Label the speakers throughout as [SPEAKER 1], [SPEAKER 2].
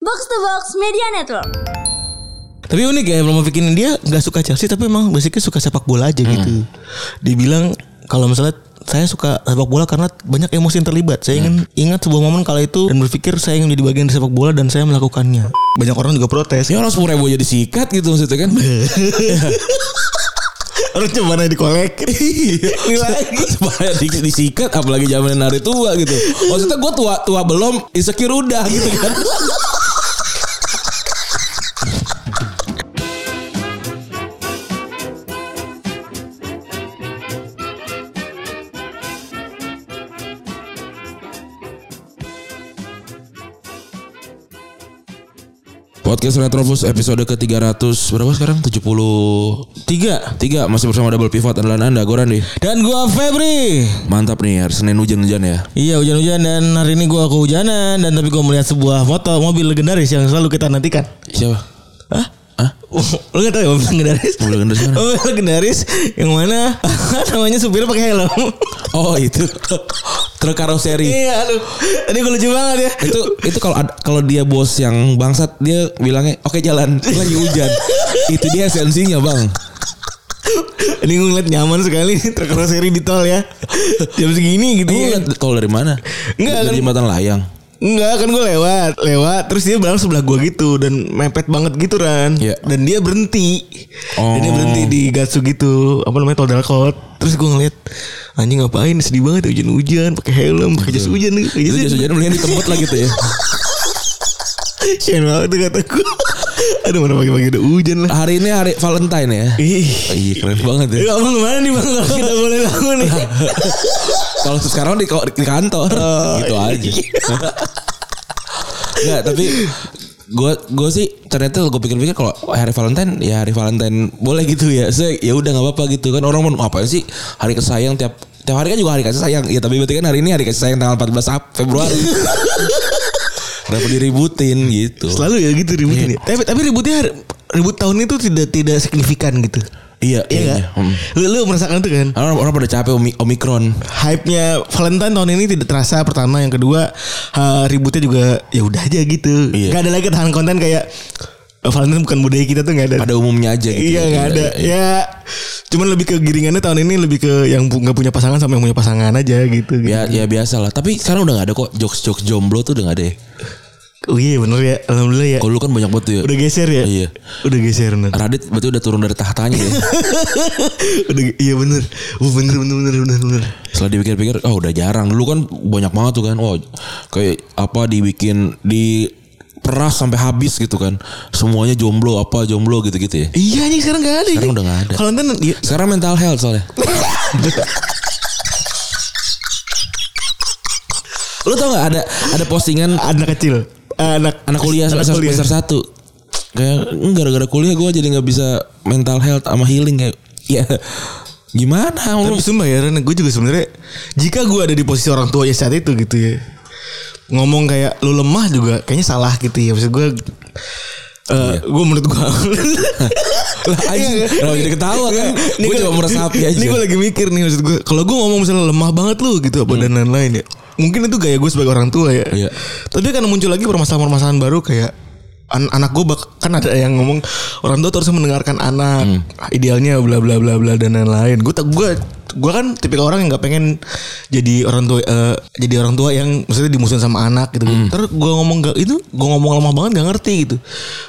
[SPEAKER 1] Box to Box Media Network.
[SPEAKER 2] Tapi unik ya bikin dia nggak suka Chelsea tapi emang basicnya suka sepak bola aja gitu. Dibilang kalau misalnya saya suka sepak bola karena banyak emosi yang terlibat. Saya ingin ingat sebuah momen kala itu dan berpikir saya ingin menjadi bagian dari sepak bola dan saya melakukannya. Iya. Banyak orang juga protes.
[SPEAKER 3] Ya orang sepuluh ribu jadi sikat gitu maksudnya kan.
[SPEAKER 2] Orang coba naik di kolek. Iya.
[SPEAKER 3] Supaya di, disikat apalagi zaman hari tua gitu. Maksudnya gue tua tua belum insecure udah gitu kan. Podcast Retrovus episode ke 300 berapa sekarang? 73 3 masih bersama Double Pivot adalah Anda Goran deh
[SPEAKER 2] Dan gua Febri.
[SPEAKER 3] Mantap nih hari Senin hujan-hujan ya
[SPEAKER 2] Iya hujan-hujan dan hari ini gua kehujanan dan tapi gua melihat sebuah foto mobil legendaris yang selalu kita nantikan.
[SPEAKER 3] Siapa?
[SPEAKER 2] Hah?
[SPEAKER 3] Hah?
[SPEAKER 2] Lu gak tau ya mobil legendaris?
[SPEAKER 3] Mobil legendaris mana?
[SPEAKER 2] Mobil legendaris yang mana namanya supirnya pakai helm.
[SPEAKER 3] Oh itu Truk karoseri
[SPEAKER 2] iya, aduh. Tadi gue lucu banget ya.
[SPEAKER 3] itu itu kalau ad- kalau dia bos yang bangsat dia bilangnya oke jalan lagi hujan itu dia esensinya bang
[SPEAKER 2] Ini gue ngeliat nyaman sekali terkeroseri di tol ya. Jam segini gitu.
[SPEAKER 3] Emang
[SPEAKER 2] ya.
[SPEAKER 3] liat tol dari mana
[SPEAKER 2] Enggak,
[SPEAKER 3] Iya. dari
[SPEAKER 2] kan-
[SPEAKER 3] jembatan layang
[SPEAKER 2] Enggak kan gue lewat Lewat Terus dia berlalu sebelah gua gitu Dan mepet banget gitu Ran
[SPEAKER 3] Iya.
[SPEAKER 2] Dan dia berhenti
[SPEAKER 3] Oh.
[SPEAKER 2] Dan dia berhenti di Gatsu gitu Apa namanya Tol Dalkot Terus gua ngeliat Anjing ngapain sedih banget ya, hujan-hujan pakai helm pakai jas hujan nih
[SPEAKER 3] itu jas hujannya mendingan di tempat lah gitu ya
[SPEAKER 2] Sian banget tuh kata gua Aduh mana pagi-pagi udah hujan lah
[SPEAKER 3] hari ini hari Valentine ya
[SPEAKER 2] Ih
[SPEAKER 3] iya keren banget ya
[SPEAKER 2] Ya abang kemana nih bang Kalau kita boleh laku nih
[SPEAKER 3] Kalau sekarang di, di kantor
[SPEAKER 2] Oh,
[SPEAKER 3] gitu
[SPEAKER 2] iya.
[SPEAKER 3] aja. Enggak, tapi gue gue sih ternyata gue pikir-pikir kalau hari Valentine ya hari Valentine boleh gitu ya. Saya ya udah nggak apa-apa gitu kan orang mau ngapain sih hari kesayang tiap tiap hari kan juga hari kasih sayang. Ya tapi berarti kan hari ini hari kasih sayang tanggal 14 Ap- Februari. Kenapa diributin gitu?
[SPEAKER 2] Selalu ya gitu ributnya Tapi tapi ributnya har- Ribut tahun itu tidak tidak signifikan gitu
[SPEAKER 3] Iya,
[SPEAKER 2] Iya
[SPEAKER 3] iya.
[SPEAKER 2] gak? Lu, lu merasakan itu kan
[SPEAKER 3] Orang, orang pada capek Omi- Omikron.
[SPEAKER 2] hype-nya Valentine tahun ini tidak terasa pertama yang kedua eh, ributnya juga ya udah aja gitu
[SPEAKER 3] Iya.
[SPEAKER 2] Gak ada lagi tahan konten kayak eh, Valentine bukan budaya kita tuh gak ada
[SPEAKER 3] Pada umumnya aja gitu.
[SPEAKER 2] iya gak ada
[SPEAKER 3] Iya,
[SPEAKER 2] ya cuman lebih ke giringannya tahun ini lebih ke yang pu- nggak punya pasangan sama yang punya pasangan aja gitu
[SPEAKER 3] Ya, ya biasa lah. Tapi sekarang udah gak ada kok jokes-jokes jomblo tuh udah gak ada ya.
[SPEAKER 2] oh iya bener ya alhamdulillah ya
[SPEAKER 3] Kalau lu kan banyak banget tuh ya.
[SPEAKER 2] udah geser ya
[SPEAKER 3] Iya.
[SPEAKER 2] udah geser bener
[SPEAKER 3] Radit berarti udah turun dari tahtanya ya.
[SPEAKER 2] udah ge- iya bener oh, bener bener bener bener bener
[SPEAKER 3] Setelah dipikir-pikir, oh udah jarang. Dulu kan banyak banget tuh kan. Oh, kayak apa dibikin di peras sampai habis gitu kan. Semuanya jomblo apa jomblo gitu-gitu ya.
[SPEAKER 2] iya anjing sekarang gak ada
[SPEAKER 3] Sekarang
[SPEAKER 2] anjing.
[SPEAKER 3] udah nggak ada.
[SPEAKER 2] Valentine iya.
[SPEAKER 3] Sekarang mental health soalnya. Lu tau gak ada ada postingan
[SPEAKER 2] anak kecil Eh, anak
[SPEAKER 3] anak kuliah semester, semester satu kayak "Hmm, gara-gara kuliah gue jadi nggak bisa mental health sama healing kayak ya gimana lu
[SPEAKER 2] Tapi sumpah ya Ren, gue juga sebenarnya jika gue ada di posisi orang tua ya saat itu gitu ya. Ngomong kayak lu lemah juga kayaknya salah gitu ya. Maksud gue eh gue menurut gue
[SPEAKER 3] Lah, anjing. Kenapa jadi ketawa kan? Gua cuma meresapi aja.
[SPEAKER 2] Ini gue lagi mikir nih maksud gue. Kalau gue ngomong misalnya lemah banget lu gitu apa dan lain-lain ya. Mungkin itu gaya gue sebagai orang tua ya.
[SPEAKER 3] Iya.
[SPEAKER 2] Tapi kan muncul lagi permasalahan-permasalahan baru kayak an- anak gue bak kan ada yang ngomong orang tua tuh harus mendengarkan anak
[SPEAKER 3] Hmm.
[SPEAKER 2] "Ah, idealnya bla bla bla bla dan lain-lain gue tak gue gue kan tipikal orang yang nggak pengen jadi orang tua eh, jadi orang tua yang maksudnya dimusuhin sama anak gitu
[SPEAKER 3] Hmm.
[SPEAKER 2] terus gue ngomong gak itu gue ngomong lemah banget gak ngerti gitu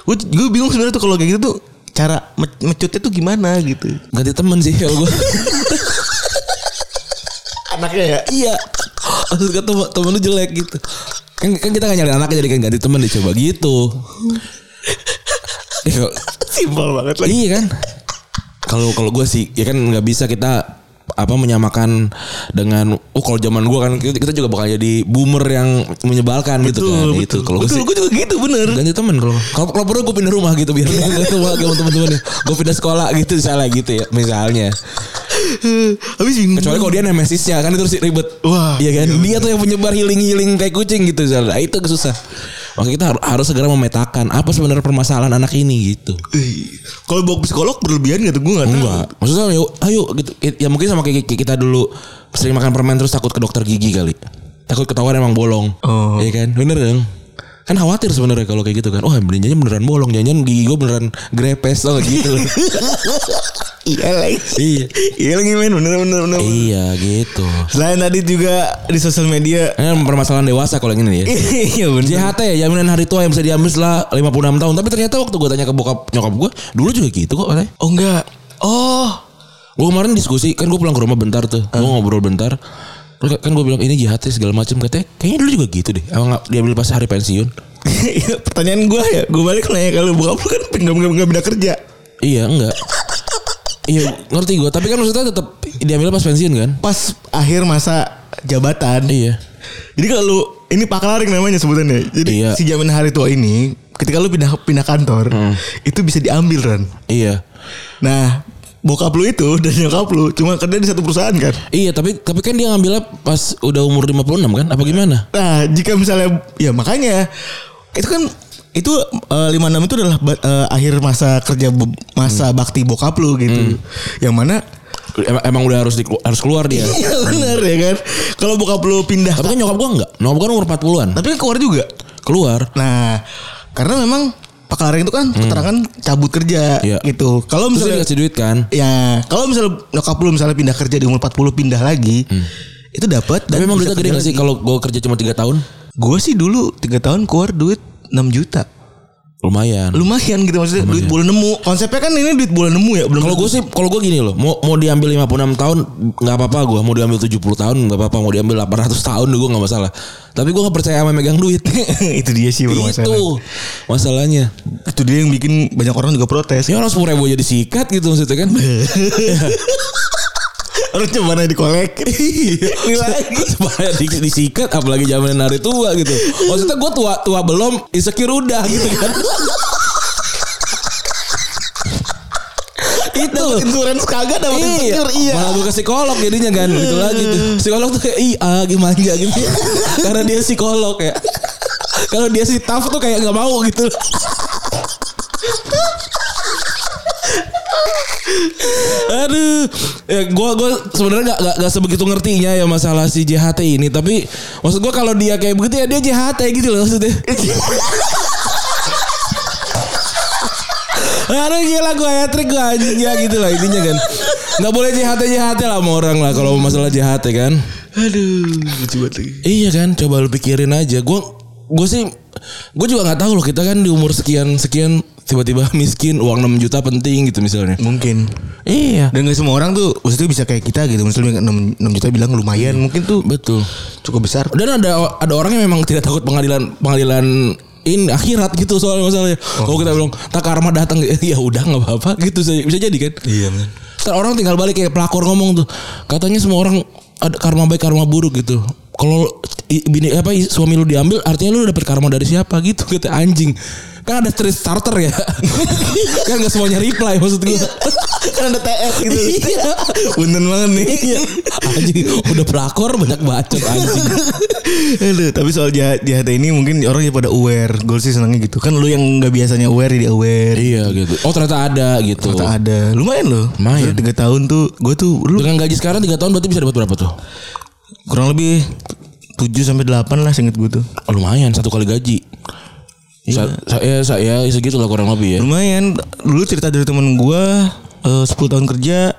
[SPEAKER 2] gue gue bingung sebenarnya tuh kalau kayak gitu tuh cara me- mecutnya tuh gimana gitu
[SPEAKER 3] ganti temen sih kalau gue
[SPEAKER 2] anaknya ya
[SPEAKER 3] iya maksud gue temen, temen lu jelek gitu kan, kan kita gak nyari anaknya jadi kan ganti temen deh coba gitu Ya, kalau-
[SPEAKER 2] simpel banget lagi
[SPEAKER 3] iya kan kalau kalau gue sih ya kan nggak bisa kita apa menyamakan dengan oh kalau zaman gue kan kita kita juga bakal jadi boomer yang menyebalkan gitu kan Itu. kalau gua
[SPEAKER 2] betul
[SPEAKER 3] sih-
[SPEAKER 2] gue juga gitu bener
[SPEAKER 3] ganti temen kalau kalau kalau perlu gue pindah rumah gitu biar gue ganti rumah sama temen-temennya gue pindah sekolah gitu misalnya gitu ya misalnya
[SPEAKER 2] habis bingung
[SPEAKER 3] kecuali kalau dia nemesisnya kan itu sih ribet
[SPEAKER 2] Wah,
[SPEAKER 3] iya kan dia tuh yang penyebar healing healing kayak kucing gitu misalnya Nah, itu susah makanya kita har- harus segera memetakan apa sebenarnya permasalahan anak ini gitu
[SPEAKER 2] Ih, Kalau bawa ke psikolog berlebihan gitu gue gak tahu.
[SPEAKER 3] enggak maksudnya ayo, ayo gitu ya mungkin sama kayak kayak kita dulu sering makan permen terus takut ke dokter gigi kali takut ketahuan emang bolong
[SPEAKER 2] Oh.
[SPEAKER 3] iya kan bener dong kan khawatir sebenarnya kalau kayak gitu kan oh belanjanya beneran bolong jangan gigi gue beneran grepes tau gak gitu
[SPEAKER 2] Iya lagi.
[SPEAKER 3] iya
[SPEAKER 2] Iya lagi men bener bener bener.
[SPEAKER 3] iya gitu
[SPEAKER 2] Selain tadi juga di sosial media.
[SPEAKER 3] ini kan permasalahan dewasa kalau yang ini ya
[SPEAKER 2] Iya bener.
[SPEAKER 3] JHT ya jaminan hari tua yang bisa diambil setelah 56 tahun tapi ternyata waktu gue tanya ke bokap nyokap gue dulu juga gitu kok katanya
[SPEAKER 2] Oh enggak. Oh.
[SPEAKER 3] gue kemarin diskusi kan gue pulang ke rumah bentar tuh gue ngobrol bentar Terus kan gue bilang ini jahat segala macam katanya kayaknya dulu juga gitu deh emang nggak diambil pas hari pensiun
[SPEAKER 2] Iya, Pertanyaan gue ya, gue balik nanya kalau bokap lu kan nggak nggak nggak pindah kerja.
[SPEAKER 3] iya enggak iya ngerti gue tapi kan maksudnya tetap diambil pas pensiun kan
[SPEAKER 2] Pas akhir masa jabatan.
[SPEAKER 3] iya
[SPEAKER 2] Jadi kalau lu ini paklaring namanya sebutannya. Jadi
[SPEAKER 3] Iya.
[SPEAKER 2] si jaminan hari tua ini ketika lu pindah pindah kantor itu bisa diambil kan.
[SPEAKER 3] iya
[SPEAKER 2] Nah, bokap lu itu dan nyokap lu cuma kerja di satu perusahaan kan.
[SPEAKER 3] iya tapi tapi kan dia ngambilnya pas udah umur 56 kan apa gimana
[SPEAKER 2] Nah, jika misalnya ya makanya itu kan itu eh, 56 itu adalah ba- eh, akhir masa kerja be- masa bakti bokap lu gitu. Yang mana
[SPEAKER 3] emang, emang udah harus di, harus keluar dia
[SPEAKER 2] Iya benar ya kan. Kalau bokap lu pindah
[SPEAKER 3] tapi kan nyokap gue enggak nyokap gue kan umur 40an
[SPEAKER 2] tapi kan keluar juga.
[SPEAKER 3] keluar
[SPEAKER 2] Nah, karena memang Pak Lareng itu kan keterangan cabut kerja
[SPEAKER 3] Hmm. Iya.
[SPEAKER 2] gitu. Kalau
[SPEAKER 3] terus dia
[SPEAKER 2] misalnya
[SPEAKER 3] dikasih duit kan
[SPEAKER 2] ya kalau misalnya nyokap lu misalnya pindah kerja di umur 40 pindah lagi itu dapat
[SPEAKER 3] Hmm. tapi emang duitnya gede gak sih kalau gue kerja cuma 3 tahun
[SPEAKER 2] Gue sih dulu 3 tahun keluar duit 6 juta.
[SPEAKER 3] lumayan
[SPEAKER 2] Lumayan gitu maksudnya duit bola nemu. Konsepnya kan ini duit bola nemu ya belum
[SPEAKER 3] Kalau gue sih, kalau gue gini loh, mau mau diambil 56 tahun nggak apa-apa gue, mau diambil 70 tahun nggak apa-apa, mau diambil 800 tahun gue nggak masalah. Tapi gue nggak percaya sama megang duit.
[SPEAKER 2] itu dia sih
[SPEAKER 3] Itu
[SPEAKER 2] permasalahan.
[SPEAKER 3] masalahnya.
[SPEAKER 2] Itu dia yang bikin banyak orang juga protes.
[SPEAKER 3] Ya orang sepuluh ribu aja disikat gitu maksudnya kan.
[SPEAKER 2] Orang coba nanya di kolek.
[SPEAKER 3] Iya.
[SPEAKER 2] Ini lagi.
[SPEAKER 3] Supaya di- disikat apalagi jaminan hari tua gitu. Maksudnya gue tua tua belum insecure udah gitu kan. itu
[SPEAKER 2] Dapat insurance kagak dapat
[SPEAKER 3] Iya,
[SPEAKER 2] insecure iya.
[SPEAKER 3] Malah gue ke psikolog jadinya kan gitu lagi tuh. Psikolog tuh kayak iya gimana gitu. Karena dia psikolog ya. Kalau dia si tough tuh kayak nggak mau gitu. Aduh, ya gue gua sebenarnya gak, gak, gak sebegitu ngertinya ya masalah si JHT ini. Tapi maksud gue kalau dia kayak begitu ya dia JHT gitu loh maksudnya.
[SPEAKER 2] Iya.
[SPEAKER 3] Aduh gila gue hat-trick gue anjing ya gitu lah intinya kan. Gak boleh JHT-JHT lah sama orang lah kalau masalah JHT kan.
[SPEAKER 2] Aduh, lucu banget lagi.
[SPEAKER 3] Iya kan coba lu pikirin aja. Gue gue sih gue juga nggak tahu loh kita kan di umur sekian sekian tiba-tiba miskin uang 6 juta penting gitu misalnya.
[SPEAKER 2] Mungkin.
[SPEAKER 3] Iya.
[SPEAKER 2] Dan gak semua orang tuh maksudnya bisa kayak kita gitu. Misalnya 6, 6 juta bilang lumayan.
[SPEAKER 3] Iya.
[SPEAKER 2] Mungkin tuh
[SPEAKER 3] Betul.
[SPEAKER 2] cukup besar.
[SPEAKER 3] Dan ada ada orang yang memang tidak takut pengadilan pengadilan in akhirat gitu soal masalahnya. Kalau kita bilang tak karma datang ya udah nggak apa-apa gitu saja. bisa jadi kan.
[SPEAKER 2] Iya bener.
[SPEAKER 3] Ntar orang tinggal balik kayak pelakor ngomong tuh. Katanya semua orang ada karma baik karma buruk gitu. Kalau i- bini apa i- suami lu diambil artinya lu dapet karma dari siapa gitu kata anjing. Kan ada street starter ya. kan gak semuanya reply maksud gue.
[SPEAKER 2] Kan ada TS gitu.
[SPEAKER 3] Iya.
[SPEAKER 2] Punten banget nih.
[SPEAKER 3] Iya. Anjing udah pelakor banyak bacot anjing.
[SPEAKER 2] Aduh, tapi soal jahat, jahat ini mungkin orang ya pada aware. Gue sih senangnya gitu. Kan lu yang nggak biasanya aware jadi aware.
[SPEAKER 3] Iya gitu. Oh ternyata ada gitu.
[SPEAKER 2] Ternyata ada. Lumayan loh.
[SPEAKER 3] Lumayan.
[SPEAKER 2] Maksudnya Tiga tahun tuh gue tuh lu
[SPEAKER 3] Dengan gaji sekarang 3 tahun berarti bisa dapat berapa tuh?
[SPEAKER 2] kurang lebih 7 sampai 8 lah seinget gue tuh.
[SPEAKER 3] Oh, lumayan satu kali gaji. Sa- sa- ya, sa- ya, segitu lah kurang lebih ya.
[SPEAKER 2] Lumayan. Dulu cerita dari temen gue eh 10 tahun kerja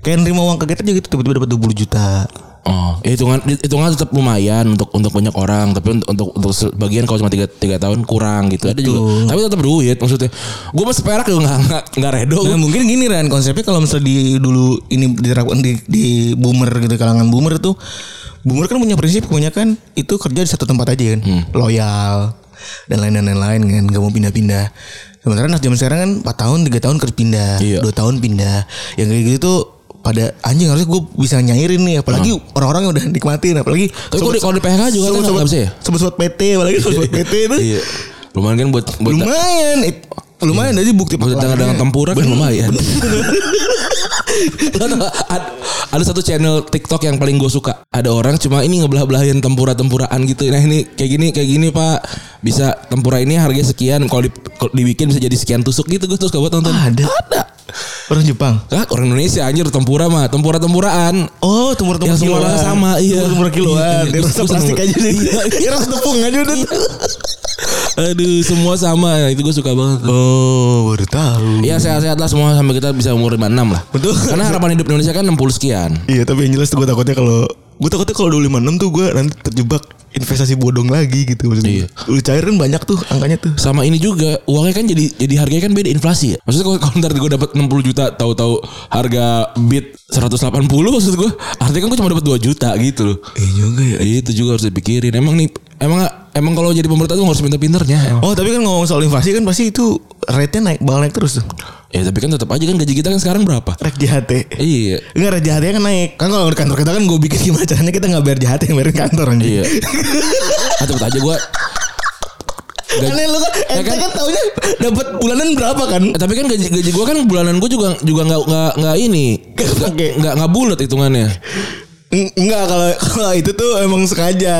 [SPEAKER 2] kayak nerima uang kaget aja gitu tiba-tiba dapat 20 juta.
[SPEAKER 3] Oh, ya hitungan hitungan tetap lumayan untuk untuk banyak orang, tapi untuk untuk, untuk sebagian kalau cuma tiga tiga tahun kurang gitu. Ada juga. Tapi tetap duit maksudnya. Gue mah seperak juga nggak nggak nggak redo.
[SPEAKER 2] Nah, mungkin gini Ran konsepnya kalau misalnya di dulu ini diterapkan di, di boomer gitu kalangan boomer tuh boomer kan punya prinsip kebanyakan itu kerja di satu tempat aja kan
[SPEAKER 3] Hmm.
[SPEAKER 2] loyal dan lain dan lain-lain kan gak mau pindah-pindah sementara anak zaman sekarang kan 4 tahun 3 tahun kerja pindah
[SPEAKER 3] Iya.
[SPEAKER 2] 2 tahun pindah yang kayak gitu tuh pada anjing harusnya gue bisa nyairin nih apalagi orang-orang yang udah nikmatin apalagi
[SPEAKER 3] Hmm. Tapi kok di kalau di PHK juga kan nggak bisa ya.
[SPEAKER 2] sobat-sobat PT apalagi sobat-sobat PT itu
[SPEAKER 3] Iya. Lumayan kan buat buat Iya.
[SPEAKER 2] lumayan it- lumayan jadi bukti
[SPEAKER 3] buat dengan
[SPEAKER 2] pakalangnya.
[SPEAKER 3] tempura kan lumayan. Lo tau gak, ad- ada satu channel TikTok yang paling gue suka. Ada orang cuma ini ngebelah-belahin tempura-tempuraan gitu. Nah ini kayak gini kayak gini pak. Bisa tempura ini harganya sekian. Kalau di, kalau dibikin bisa jadi sekian tusuk gitu. Gue terus gak buat nonton.
[SPEAKER 2] Ada. Ada. Orang Jepang.
[SPEAKER 3] Hah, Ah, orang Indonesia anjir tempura mah, tempura-tempuraan.
[SPEAKER 2] Oh, tumor-tumor
[SPEAKER 3] Yang semua
[SPEAKER 2] kiloan.
[SPEAKER 3] orang sama, iya.
[SPEAKER 2] Tumor-tumor kiloan.
[SPEAKER 3] Iya,
[SPEAKER 2] Dia
[SPEAKER 3] iya.
[SPEAKER 2] rasa
[SPEAKER 3] Gua seneng
[SPEAKER 2] plastik aja
[SPEAKER 3] banget.
[SPEAKER 2] deh.
[SPEAKER 3] Iya.
[SPEAKER 2] Dia rasa tepung aja udah.
[SPEAKER 3] Aduh, semua sama. Nah, Itu gue suka banget.
[SPEAKER 2] Oh, baru tahu.
[SPEAKER 3] Ya sehat-sehat lah semua sampai kita bisa umur 56 lah.
[SPEAKER 2] Betul.
[SPEAKER 3] Karena harapan hidup Indonesia kan 60 sekian.
[SPEAKER 2] Iya, tapi yang jelas gue takutnya kalau gue takutnya kalau 256 tuh gue nanti terjebak investasi bodong lagi gitu maksudnya.
[SPEAKER 3] Iya.
[SPEAKER 2] Lu cairin banyak tuh angkanya tuh.
[SPEAKER 3] Sama ini juga uangnya kan jadi jadi harganya kan beda inflasi ya. Maksudnya kalau, kalau ntar gue dapat 60 juta tahu-tahu harga bit 180 maksud gue. Artinya kan gue cuma dapat 2 juta gitu loh.
[SPEAKER 2] Iya juga ya.
[SPEAKER 3] Itu juga harus dipikirin. Emang nih emang emang kalau jadi pemerintah tuh harus pinter-pinternya. emang.
[SPEAKER 2] Oh, tapi kan ngomong soal inflasi kan pasti itu rate-nya naik bakal naik terus tuh.
[SPEAKER 3] Ya tapi kan tetap aja kan gaji kita kan sekarang berapa?
[SPEAKER 2] Rate JHT.
[SPEAKER 3] Iya.
[SPEAKER 2] Enggak rate JHT kan naik. Kan kalau di kantor kita kan gue bikin gimana caranya kita nggak bayar JHT yang bayarin kantor anjing.
[SPEAKER 3] Iya. Ah, tetep aja gue.
[SPEAKER 2] Karena lu kan,
[SPEAKER 3] Ya
[SPEAKER 2] ente
[SPEAKER 3] kan?
[SPEAKER 2] kan, taunya dapat bulanan berapa kan?
[SPEAKER 3] tapi kan gaji gaji gue kan bulanan gue juga juga nggak nggak nggak ini
[SPEAKER 2] Nggak pakai.
[SPEAKER 3] nggak nggak bulat hitungannya.
[SPEAKER 2] Eng- Enggak kalau kalau itu tuh emang sengaja.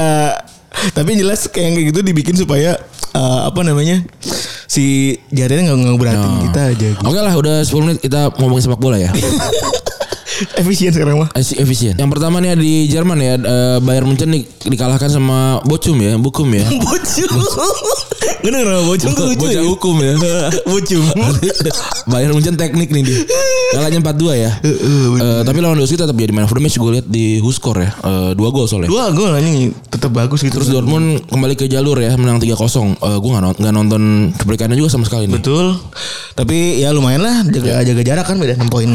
[SPEAKER 2] Tapi yang jelas kayak yang kayak gitu dibikin supaya eh, apa namanya si jadinya nggak ngeberatin
[SPEAKER 3] Oh.
[SPEAKER 2] kita aja. gitu.
[SPEAKER 3] Oke lah udah 10 menit kita ngomongin sepak bola ya.
[SPEAKER 2] Efisien sekarang mah.
[SPEAKER 3] Esi- Efisien. Yang pertama nih di Jerman ya eh, Bayern Munchen nih dikalahkan sama Bochum ya, Bochum ya.
[SPEAKER 2] Bocum. Gue denger nama bocum tuh lucu.
[SPEAKER 3] Bocah
[SPEAKER 2] ya.
[SPEAKER 3] hukum ya.
[SPEAKER 2] Bocum.
[SPEAKER 3] Bayern Munchen teknik nih dia. Kalahnya 4-2 ya. Eh, tapi lawan Lewandowski tetap jadi man of the match gue lihat di Huskor ya. Eh, dua gol soalnya.
[SPEAKER 2] Dua gol anjing tetap bagus gitu.
[SPEAKER 3] Terus Dortmund kembali ke jalur ya menang 3-0. Eh gue nggak nonton, nonton cuplikannya juga sama sekali nih.
[SPEAKER 2] betul. Tapi ya lumayan lah jaga jaga jarak kan beda 6 poin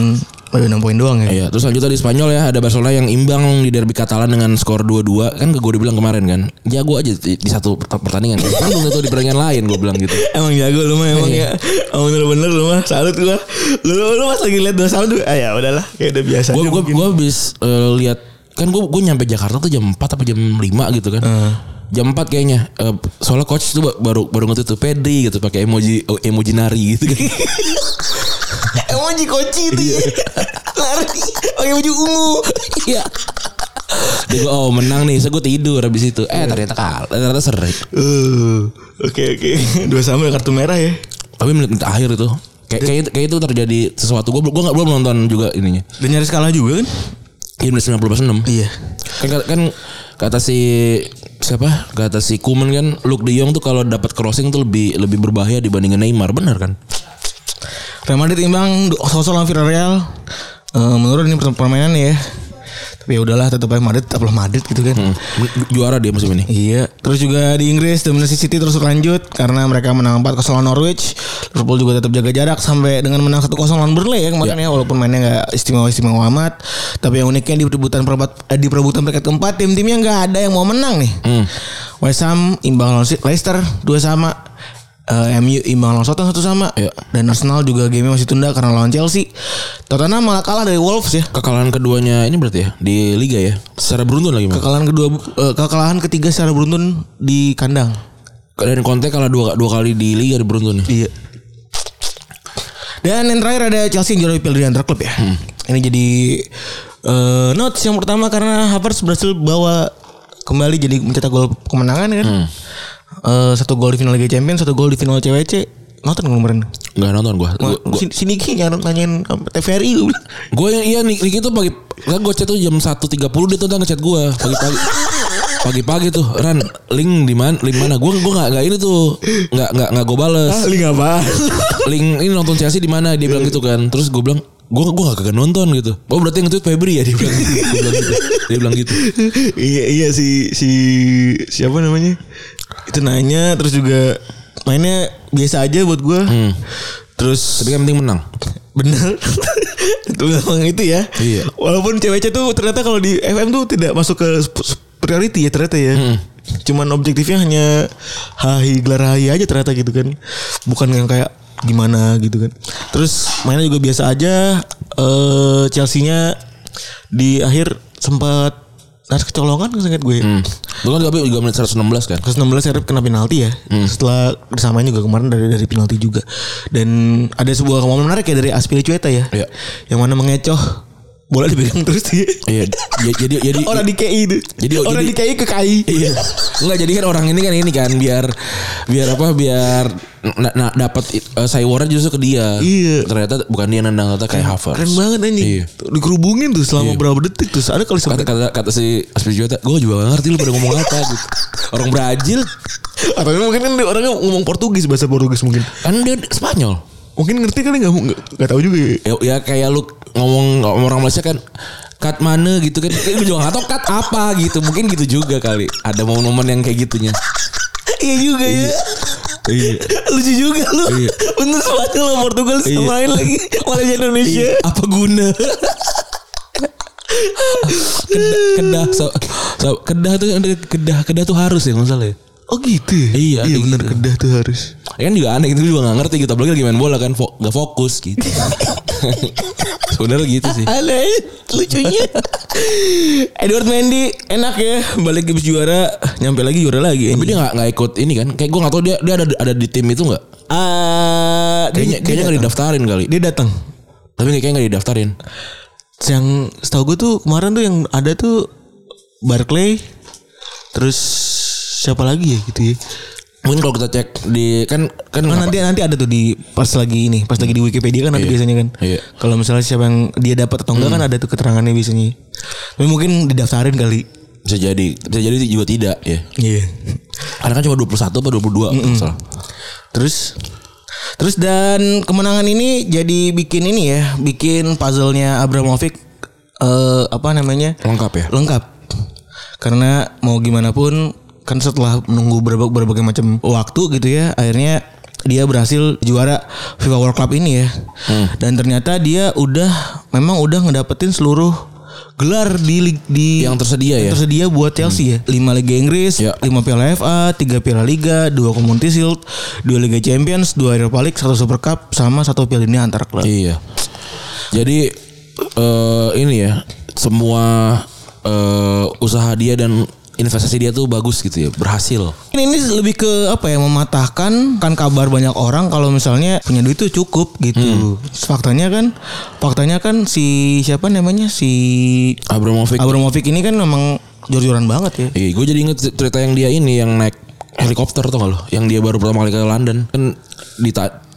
[SPEAKER 2] beda 6 poin doang ya.
[SPEAKER 3] Iya, terus lanjut di Spanyol ya ada Barcelona yang imbang di derby Catalan dengan skor 2-2. Kan gue udah bilang kemarin kan. Jago aja di, di satu pert- pertandingan. Kan belum tentu di pertandingan lain gue bilang gitu.
[SPEAKER 2] Emang jago lu mah emang ya. Emang bener-bener lu mah salut gua. Lu lu pas lagi lihat dua salut ah ya udahlah kayak udah biasa.
[SPEAKER 3] Gue
[SPEAKER 2] aja
[SPEAKER 3] gue
[SPEAKER 2] mungkin.
[SPEAKER 3] gue habis eh, lihat kan gue gue nyampe Jakarta tuh jam 4 apa jam 5 gitu kan.
[SPEAKER 2] Uh-huh.
[SPEAKER 3] Jam 4 kayaknya. Eh, soalnya coach tuh ba- baru baru ngetik tuh Pedri gitu pakai emoji oh, emoji nari gitu kan.
[SPEAKER 2] Emoji Eh, koci itu ya. Lari pakai baju ungu.
[SPEAKER 3] Iya. Dia gua, oh menang nih, so gue tidur habis itu. Eh ternyata kalah, ternyata seri.
[SPEAKER 2] Eh, oke oke. Dua sama kartu merah ya.
[SPEAKER 3] Tapi menit-menit akhir itu kayak kayak itu, kayak itu terjadi sesuatu. Gue gua nggak belum nonton juga ininya.
[SPEAKER 2] Dan nyaris kalah juga kan?
[SPEAKER 3] Ini menit 90 plus 6.
[SPEAKER 2] Iya.
[SPEAKER 3] Kan, kan, kan kata si siapa? Kata si Kuman kan Luke De Jong tuh kalau dapat crossing tuh lebih lebih berbahaya dibandingin Neymar, benar kan?
[SPEAKER 2] Real Madrid imbang sosok lawan Villarreal. Eh, menurut ini permainan ya. Tapi ya udahlah tetap aja Madrid, tetap Madrid gitu kan.
[SPEAKER 3] Ju- Juara dia musim ini.
[SPEAKER 2] Iya, terus juga di Inggris dominasi City terus berlanjut karena mereka menang 4-0 lawan Norwich. Liverpool juga tetap jaga jarak sampai dengan menang 1-0 lawan Burnley ya kemarin ya walaupun mainnya nggak istimewa-istimewa amat. Tapi yang uniknya di perebutan perempat eh, di perebutan peringkat keempat tim-timnya nggak ada yang mau menang nih. West Ham imbang lawan Leicester dua sama. Eh, MU imbang lawan Southampton satu sama.
[SPEAKER 3] Iya.
[SPEAKER 2] Dan Arsenal juga game masih tunda karena lawan Chelsea. Tottenham malah kalah dari Wolves ya.
[SPEAKER 3] Kekalahan keduanya ini berarti ya di liga ya. Secara beruntun lagi. Mas.
[SPEAKER 2] Kekalahan kedua eh, kekalahan ketiga secara beruntun di kandang.
[SPEAKER 3] Dan Conte kalah dua dua kali di liga di beruntun. ya?
[SPEAKER 2] Iya. Dan yang terakhir ada Chelsea yang juara Piala Dunia Antar Klub ya. Ini jadi eh, notes yang pertama karena Havertz berhasil bawa kembali jadi mencetak gol kemenangan kan. Eh, satu gol di final Liga Champions, satu gol di final CWC. Nonton nggak kemarin?
[SPEAKER 3] Nggak nonton gua. Gua- gua-
[SPEAKER 2] Sini, sini Ki, yang nanyain apa, TVRI gue bilang.
[SPEAKER 3] Gue yang iya Nick, Nick itu pagi kan gue chat tuh jam 1.30 dia tuh udah ngechat gue pagi-pagi. Pagi-pagi tuh Ran link di mana link mana gue gue nggak nggak ini tuh nggak nggak nggak gue bales
[SPEAKER 2] Link Ah, apa?
[SPEAKER 3] link ini nonton Chelsea di mana dia bilang gitu kan terus gue bilang gue gue gak kagak nonton gitu oh berarti yang itu Febri ya dia bilang, Gua bilang gitu dia bilang gitu
[SPEAKER 2] iya iya si si siapa namanya? Itu nanya terus juga mainnya biasa aja buat gua. Terus
[SPEAKER 3] tapi yang penting menang
[SPEAKER 2] Bener Itu memang itu ya
[SPEAKER 3] Iya.
[SPEAKER 2] Walaupun cewek tuh ternyata kalau di FM tuh tidak masuk ke sp- sp- priority ya ternyata ya Cuman objektifnya hanya Hahi gelar hahi aja ternyata gitu kan Bukan yang kayak gimana gitu kan Terus mainnya juga biasa aja eh Chelsea-nya di akhir sempat Nah kecolongan kan gue
[SPEAKER 3] itu kan tapi juga menit 116 kan
[SPEAKER 2] 116 Arab kena penalti ya.
[SPEAKER 3] Hmm.
[SPEAKER 2] Setelah disamain juga kemarin dari dari penalti juga. Dan ada sebuah momen menarik ya dari Aspilicueta ya.
[SPEAKER 3] Iya.
[SPEAKER 2] Yang mana mengecoh bola dipegang terus dia.
[SPEAKER 3] iya ya- jadi jadi
[SPEAKER 2] Orang di KI itu.
[SPEAKER 3] Jadi- oh,
[SPEAKER 2] orang
[SPEAKER 3] jadi-
[SPEAKER 2] di KI ke KI.
[SPEAKER 3] Iya. Enggak jadi kan orang ini kan ini kan biar biar apa biar na- na- dapat uh, sayuran justru ke dia.
[SPEAKER 2] Iya.
[SPEAKER 3] Ternyata bukan dia yang nendang ternyata kayak Havertz.
[SPEAKER 2] Keren banget anjing.
[SPEAKER 3] Iya.
[SPEAKER 2] Dikerubungin tuh selama berapa detik terus ada kali
[SPEAKER 3] Kata
[SPEAKER 2] sampai
[SPEAKER 3] kata, kata si Aspi Juwata, gue juga gak ngerti lu pada ngomong apa gitu. Orang Brazil
[SPEAKER 2] Atau mungkin kan dia orangnya ngomong Portugis bahasa Portugis mungkin.
[SPEAKER 3] Kan dia Spanyol.
[SPEAKER 2] Mungkin ngerti kali nggak nggak nggak tahu juga. Ya.
[SPEAKER 3] Ya, ya kayak lu ngomong ngomong orang Malaysia kan cut mana gitu kan. Gue juga gak tau cut apa gitu. Mungkin gitu juga kali. Ada momen-momen yang kayak gitunya.
[SPEAKER 2] Iya juga ya.
[SPEAKER 3] Iya.
[SPEAKER 2] Lucu juga lu.
[SPEAKER 3] Iya.
[SPEAKER 2] Untuk Spanyol sama Portugal
[SPEAKER 3] Iya.
[SPEAKER 2] samain lagi Malaysia Indonesia.
[SPEAKER 3] Apa guna? kedah, kedah, so- so- kedah tuh kedah kedah tuh harus ya masalahnya.
[SPEAKER 2] Oh gitu. ya?
[SPEAKER 3] Iya,
[SPEAKER 2] Iya
[SPEAKER 3] gitu.
[SPEAKER 2] benar kedah tuh harus.
[SPEAKER 3] Ya kan juga aneh gitu juga gak ngerti gitu apalagi lagi main bola kan fo- gak fokus gitu sebenarnya gitu sih
[SPEAKER 2] Aneh Ah, lucunya.
[SPEAKER 3] Edward Mendy
[SPEAKER 2] Enak ya balik habis juara nyampe lagi juara lagi.
[SPEAKER 3] tapi dia gak, nggak ikut ini kan kayak gue gak tau dia dia ada ada di tim itu gak
[SPEAKER 2] Ah,
[SPEAKER 3] kayaknya
[SPEAKER 2] dia,
[SPEAKER 3] kayaknya gak didaftarin kali
[SPEAKER 2] dia datang.
[SPEAKER 3] tapi kayaknya gak didaftarin
[SPEAKER 2] Yang setahu gue tuh kemarin tuh yang ada tuh Barclay terus siapa lagi ya gitu ya.
[SPEAKER 3] mungkin kalau kita cek di kan kan
[SPEAKER 2] Nah,
[SPEAKER 3] apa-
[SPEAKER 2] nanti nanti ada tuh di pas lagi ini, pas lagi di Wikipedia kan ada biasanya kan.
[SPEAKER 3] Iya. Hmm.
[SPEAKER 2] Kalau misalnya siapa yang dia dapat atau enggak kan ada tuh keterangannya biasanya. Tapi mungkin didaftarin kali.
[SPEAKER 3] bisa jadi bisa jadi juga tidak ya
[SPEAKER 2] Iya.
[SPEAKER 3] karena kan cuma 21 apa 22 mm salah
[SPEAKER 2] Terus terus dan kemenangan ini jadi bikin ini ya, bikin puzzle-nya Abramovich eh apa namanya?
[SPEAKER 3] lengkap ya
[SPEAKER 2] lengkap karena mau gimana pun kan setelah menunggu berbagai, berbagai macam waktu gitu ya akhirnya dia berhasil juara FIFA World Cup ini ya
[SPEAKER 3] Hmm.
[SPEAKER 2] dan ternyata dia udah memang udah ngedapetin seluruh gelar di lig- di
[SPEAKER 3] yang tersedia ya
[SPEAKER 2] tersedia buat Chelsea ya 5 Liga Inggris,
[SPEAKER 3] Ya.
[SPEAKER 2] 5 Piala FA, 3 Piala Liga, 2 Community Shield, 2 Liga Champions, 2 Europa League, 1 Super Cup sama 1 Piala Dunia antar klub.
[SPEAKER 3] Iya. Jadi eh ini ya semua eh usaha dia dan investasi dia tuh bagus gitu ya, berhasil.
[SPEAKER 2] Ini, ini lebih ke apa ya mematahkan kan kabar banyak orang kalau misalnya punya duit itu cukup gitu. Faktanya kan faktanya kan si siapa namanya si
[SPEAKER 3] Abramovich.
[SPEAKER 2] Abramovich ini kan memang jor-joran banget ya.
[SPEAKER 3] Iya, gue jadi inget cerita yang dia ini yang naik helikopter tuh lo, yang dia baru pertama kali ke London kan di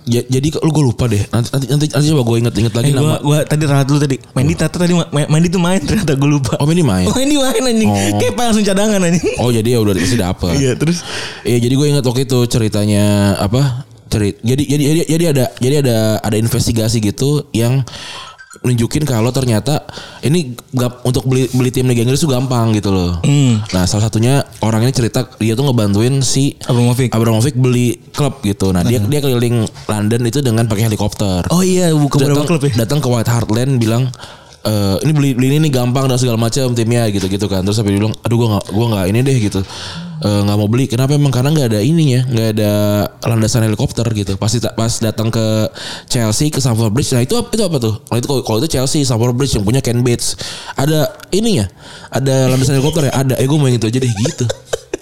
[SPEAKER 3] jadi lu gue lupa deh. Nanti nanti nanti, nanti coba gue inget-inget
[SPEAKER 2] Eh,
[SPEAKER 3] lagi
[SPEAKER 2] gua,
[SPEAKER 3] nama.
[SPEAKER 2] gua tadi ralat dulu tadi. Mandi tata tadi ma- ma- Mandi tuh main ternyata gue lupa.
[SPEAKER 3] Oh, ini main.
[SPEAKER 2] Oh, ini main anjing.
[SPEAKER 3] Oh.
[SPEAKER 2] Kepa langsung cadangan anjing.
[SPEAKER 3] Oh, jadi ya udah pasti dapet.
[SPEAKER 2] Iya, terus
[SPEAKER 3] Iya jadi gue ingat waktu itu ceritanya apa cerit jadi jadi jadi jadi ada jadi ada ada investigasi gitu yang nunjukin kalau ternyata ini gap, untuk beli beli tim Liga Inggris tuh gampang gitu loh.
[SPEAKER 2] Hmm.
[SPEAKER 3] Nah salah satunya orang ini cerita dia tuh ngebantuin si
[SPEAKER 2] Abramovich.
[SPEAKER 3] Abramovich beli klub gitu. Nah dia dia keliling London itu dengan pakai helikopter.
[SPEAKER 2] Oh iya, bukan
[SPEAKER 3] datang,
[SPEAKER 2] berapa klub ya?
[SPEAKER 3] datang ke White Hart Lane bilang "Eh, ini beli beli ini nih gampang dan segala macam timnya gitu gitu kan terus sampai dia bilang aduh gua nggak gua nggak ini deh gitu Eh, nggak mau beli kenapa emang karena nggak ada ininya nggak ada landasan helikopter gitu pasti pas datang ke Chelsea ke Stamford Bridge nah itu apa itu apa tuh nah, itu kalau kalau itu Chelsea Stamford Bridge yang punya Ken Bates ada ininya ada landasan helikopter ya ada eh gua mau yang itu aja deh gitu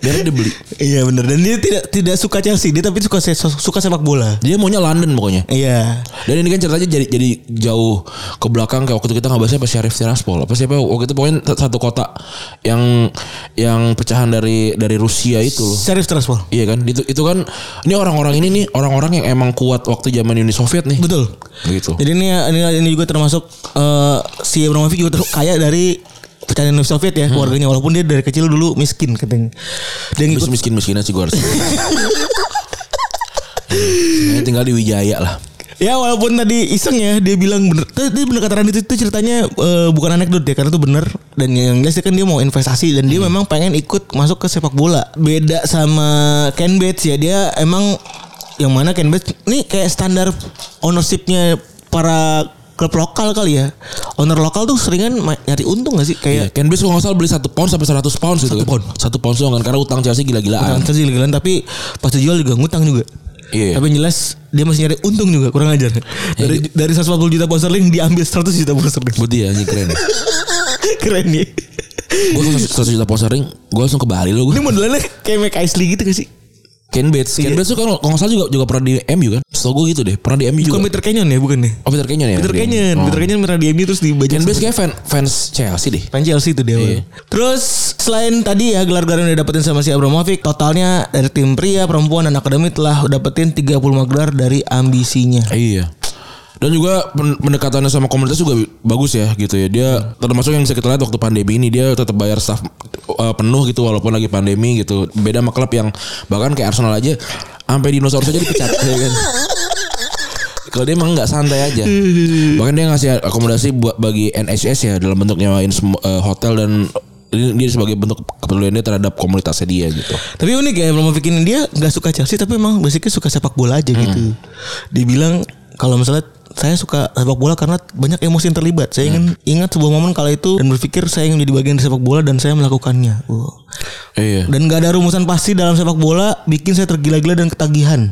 [SPEAKER 3] biar dia beli
[SPEAKER 2] Iya bener Dan dia tidak tidak suka Chelsea, dia tapi suka se- suka sepak bola.
[SPEAKER 3] dia maunya London pokoknya
[SPEAKER 2] Iya.
[SPEAKER 3] Dan ini kan ceritanya jadi jadi jauh ke belakang kayak waktu kita nggak bahasnya apa Sheriff Tiraspol apa siapa waktu itu pokoknya satu kota yang yang pecahan dari dari Rusia itu loh.
[SPEAKER 2] Serius transfer.
[SPEAKER 3] Iya kan? Itu itu kan ini orang-orang ini nih orang-orang yang emang kuat waktu zaman Uni Soviet nih.
[SPEAKER 2] Betul.
[SPEAKER 3] Gitu.
[SPEAKER 2] Jadi ini ini, ini juga termasuk eh, si Abramovich juga ter- kaya dari pecahan Uni Soviet ya keluarganya walaupun dia dari kecil dulu miskin katanya. Dia
[SPEAKER 3] Terus
[SPEAKER 2] ngikut
[SPEAKER 3] miskin-miskinnya sih gue harus. Saya tinggal di Wijaya lah.
[SPEAKER 2] ya walaupun tadi iseng ya dia bilang bener tadi bener kata Randy itu, itu ceritanya eh, bukan anekdot ya karena itu bener dan yang jelas dia kan dia mau investasi dan dia memang pengen ikut masuk ke sepak bola beda sama Ken Bates ya dia emang yang mana Ken Bates ini kayak standar ownershipnya para klub lokal kali ya owner lokal tuh seringan ma- nyari untung gak sih kayak
[SPEAKER 3] Iya, Ken Bates kalau nggak salah beli satu pound sampai 100 pound gitu. Satu pound. Satu pound doang kan karena utang Chelsea
[SPEAKER 2] Utang
[SPEAKER 3] gila-gilaan.
[SPEAKER 2] terus gila-gilaan tapi pas dijual juga ngutang juga.
[SPEAKER 3] Iya.
[SPEAKER 2] Tapi yang jelas dia masih nyari untung juga kurang ajar. Dari dari 140 juta pound sterling diambil 100 juta pound sterling.
[SPEAKER 3] Buat dia ya, anjing keren.
[SPEAKER 2] Keren ya.
[SPEAKER 3] gue seratus juta pound sterling gue langsung ke Bali lo
[SPEAKER 2] Ini
[SPEAKER 3] gue
[SPEAKER 2] modelannya kayak Mike Isley gitu gak sih?
[SPEAKER 3] Ken Bates
[SPEAKER 2] Iya.
[SPEAKER 3] Ken Bates tuh kan kalau nggak salah juga juga pernah di MU kan setahu gue gitu deh pernah di MU juga
[SPEAKER 2] Bukan Peter Kenyon ya bukan ya?
[SPEAKER 3] oh Peter Kenyon ya
[SPEAKER 2] Peter
[SPEAKER 3] dia.
[SPEAKER 2] Kenyon,
[SPEAKER 3] Oh. ya?
[SPEAKER 2] Peter Kenyon pernah di MU terus dibajak.
[SPEAKER 3] Ken Bates kayak fan, fans Chelsea deh
[SPEAKER 2] Fan Chelsea itu dia. awalnya. Terus selain tadi ya gelar-gelar yang didapetin sama si Abramovich, totalnya dari tim pria, perempuan dan akademi telah dapetin 35 gelar dari ambisinya.
[SPEAKER 3] iya Dan juga pen- pendekatannya sama komunitas juga bagus ya gitu ya. Dia termasuk yang bisa kita lihat waktu pandemi ini dia tetap bayar staff uh, penuh gitu walaupun lagi pandemi gitu. Beda sama klub yang bahkan kayak Arsenal aja sampai dinosaurus aja dipecat ya kan. Kalau dia emang nggak santai aja. Bahkan dia ngasih akomodasi buat bagi NHS ya dalam bentuk nyewain semua, eh, hotel dan ini dia sebagai bentuk kepedulian dia terhadap komunitasnya dia gitu.
[SPEAKER 2] Tapi unik ya belum bikin dia nggak suka Chelsea tapi emang basicnya suka sepak bola
[SPEAKER 3] Hmm.
[SPEAKER 2] aja gitu. Dibilang kalau misalnya saya suka sepak bola karena banyak emosi yang terlibat. Saya ingin
[SPEAKER 3] Hmm.
[SPEAKER 2] ingat sebuah momen kala itu dan berpikir saya ingin menjadi bagian dari sepak bola dan saya melakukannya. Wow.
[SPEAKER 3] Iya.
[SPEAKER 2] Dan gak ada rumusan pasti dalam sepak bola bikin saya tergila-gila dan ketagihan.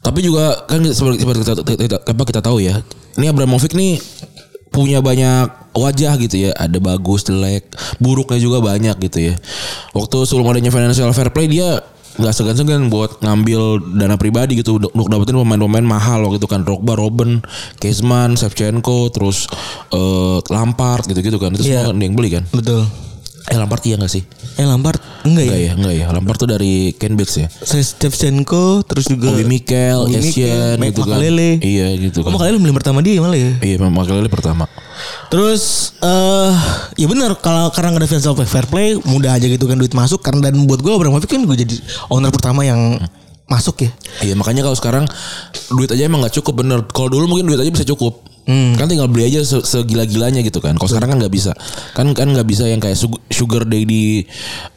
[SPEAKER 3] Tapi juga kan seperti seperti kita, kita, apa kita tahu ya. Ini Abramovich nih punya banyak wajah gitu ya. Ada bagus, jelek, buruknya juga banyak gitu ya. Waktu sebelum adanya financial fair play dia nggak segan-segan buat ngambil dana pribadi gitu untuk untuk dapetin pemain-pemain mahal waktu itu kan Drogba, Robben, Kezman, Shevchenko, terus eh, Lampard gitu-gitu kan. Itu
[SPEAKER 2] Iya.
[SPEAKER 3] semua kan dia yang beli kan.
[SPEAKER 2] Betul.
[SPEAKER 3] Eh Lampard iya nggak sih?
[SPEAKER 2] Eh Lampard enggak ya?
[SPEAKER 3] Enggak ya, enggak ya. Lampard tuh dari Cambridge ya.
[SPEAKER 2] Saya Shevchenko terus juga
[SPEAKER 3] Bobby Mikel,
[SPEAKER 2] Bobby
[SPEAKER 3] Essien
[SPEAKER 2] Mikel,
[SPEAKER 3] gitu kan.
[SPEAKER 2] Makalele.
[SPEAKER 3] Iya gitu
[SPEAKER 2] Oh,
[SPEAKER 3] kan.
[SPEAKER 2] Makalele beli pertama dia malah ya.
[SPEAKER 3] Iya, memang Makalele pertama.
[SPEAKER 2] Terus eh ya benar kalau karena nggak ada financial fair play mudah aja gitu kan duit masuk karena dan buat gue Abramovich kan gue jadi owner pertama yang masuk ya.
[SPEAKER 3] Iya makanya kalau sekarang duit aja emang nggak cukup bener. Kalau dulu mungkin duit aja bisa cukup. Kan tinggal beli aja se- segila-gilanya gitu kan. Kalau sekarang kan nggak bisa. Kan kan nggak bisa yang kayak sug- sugar daddy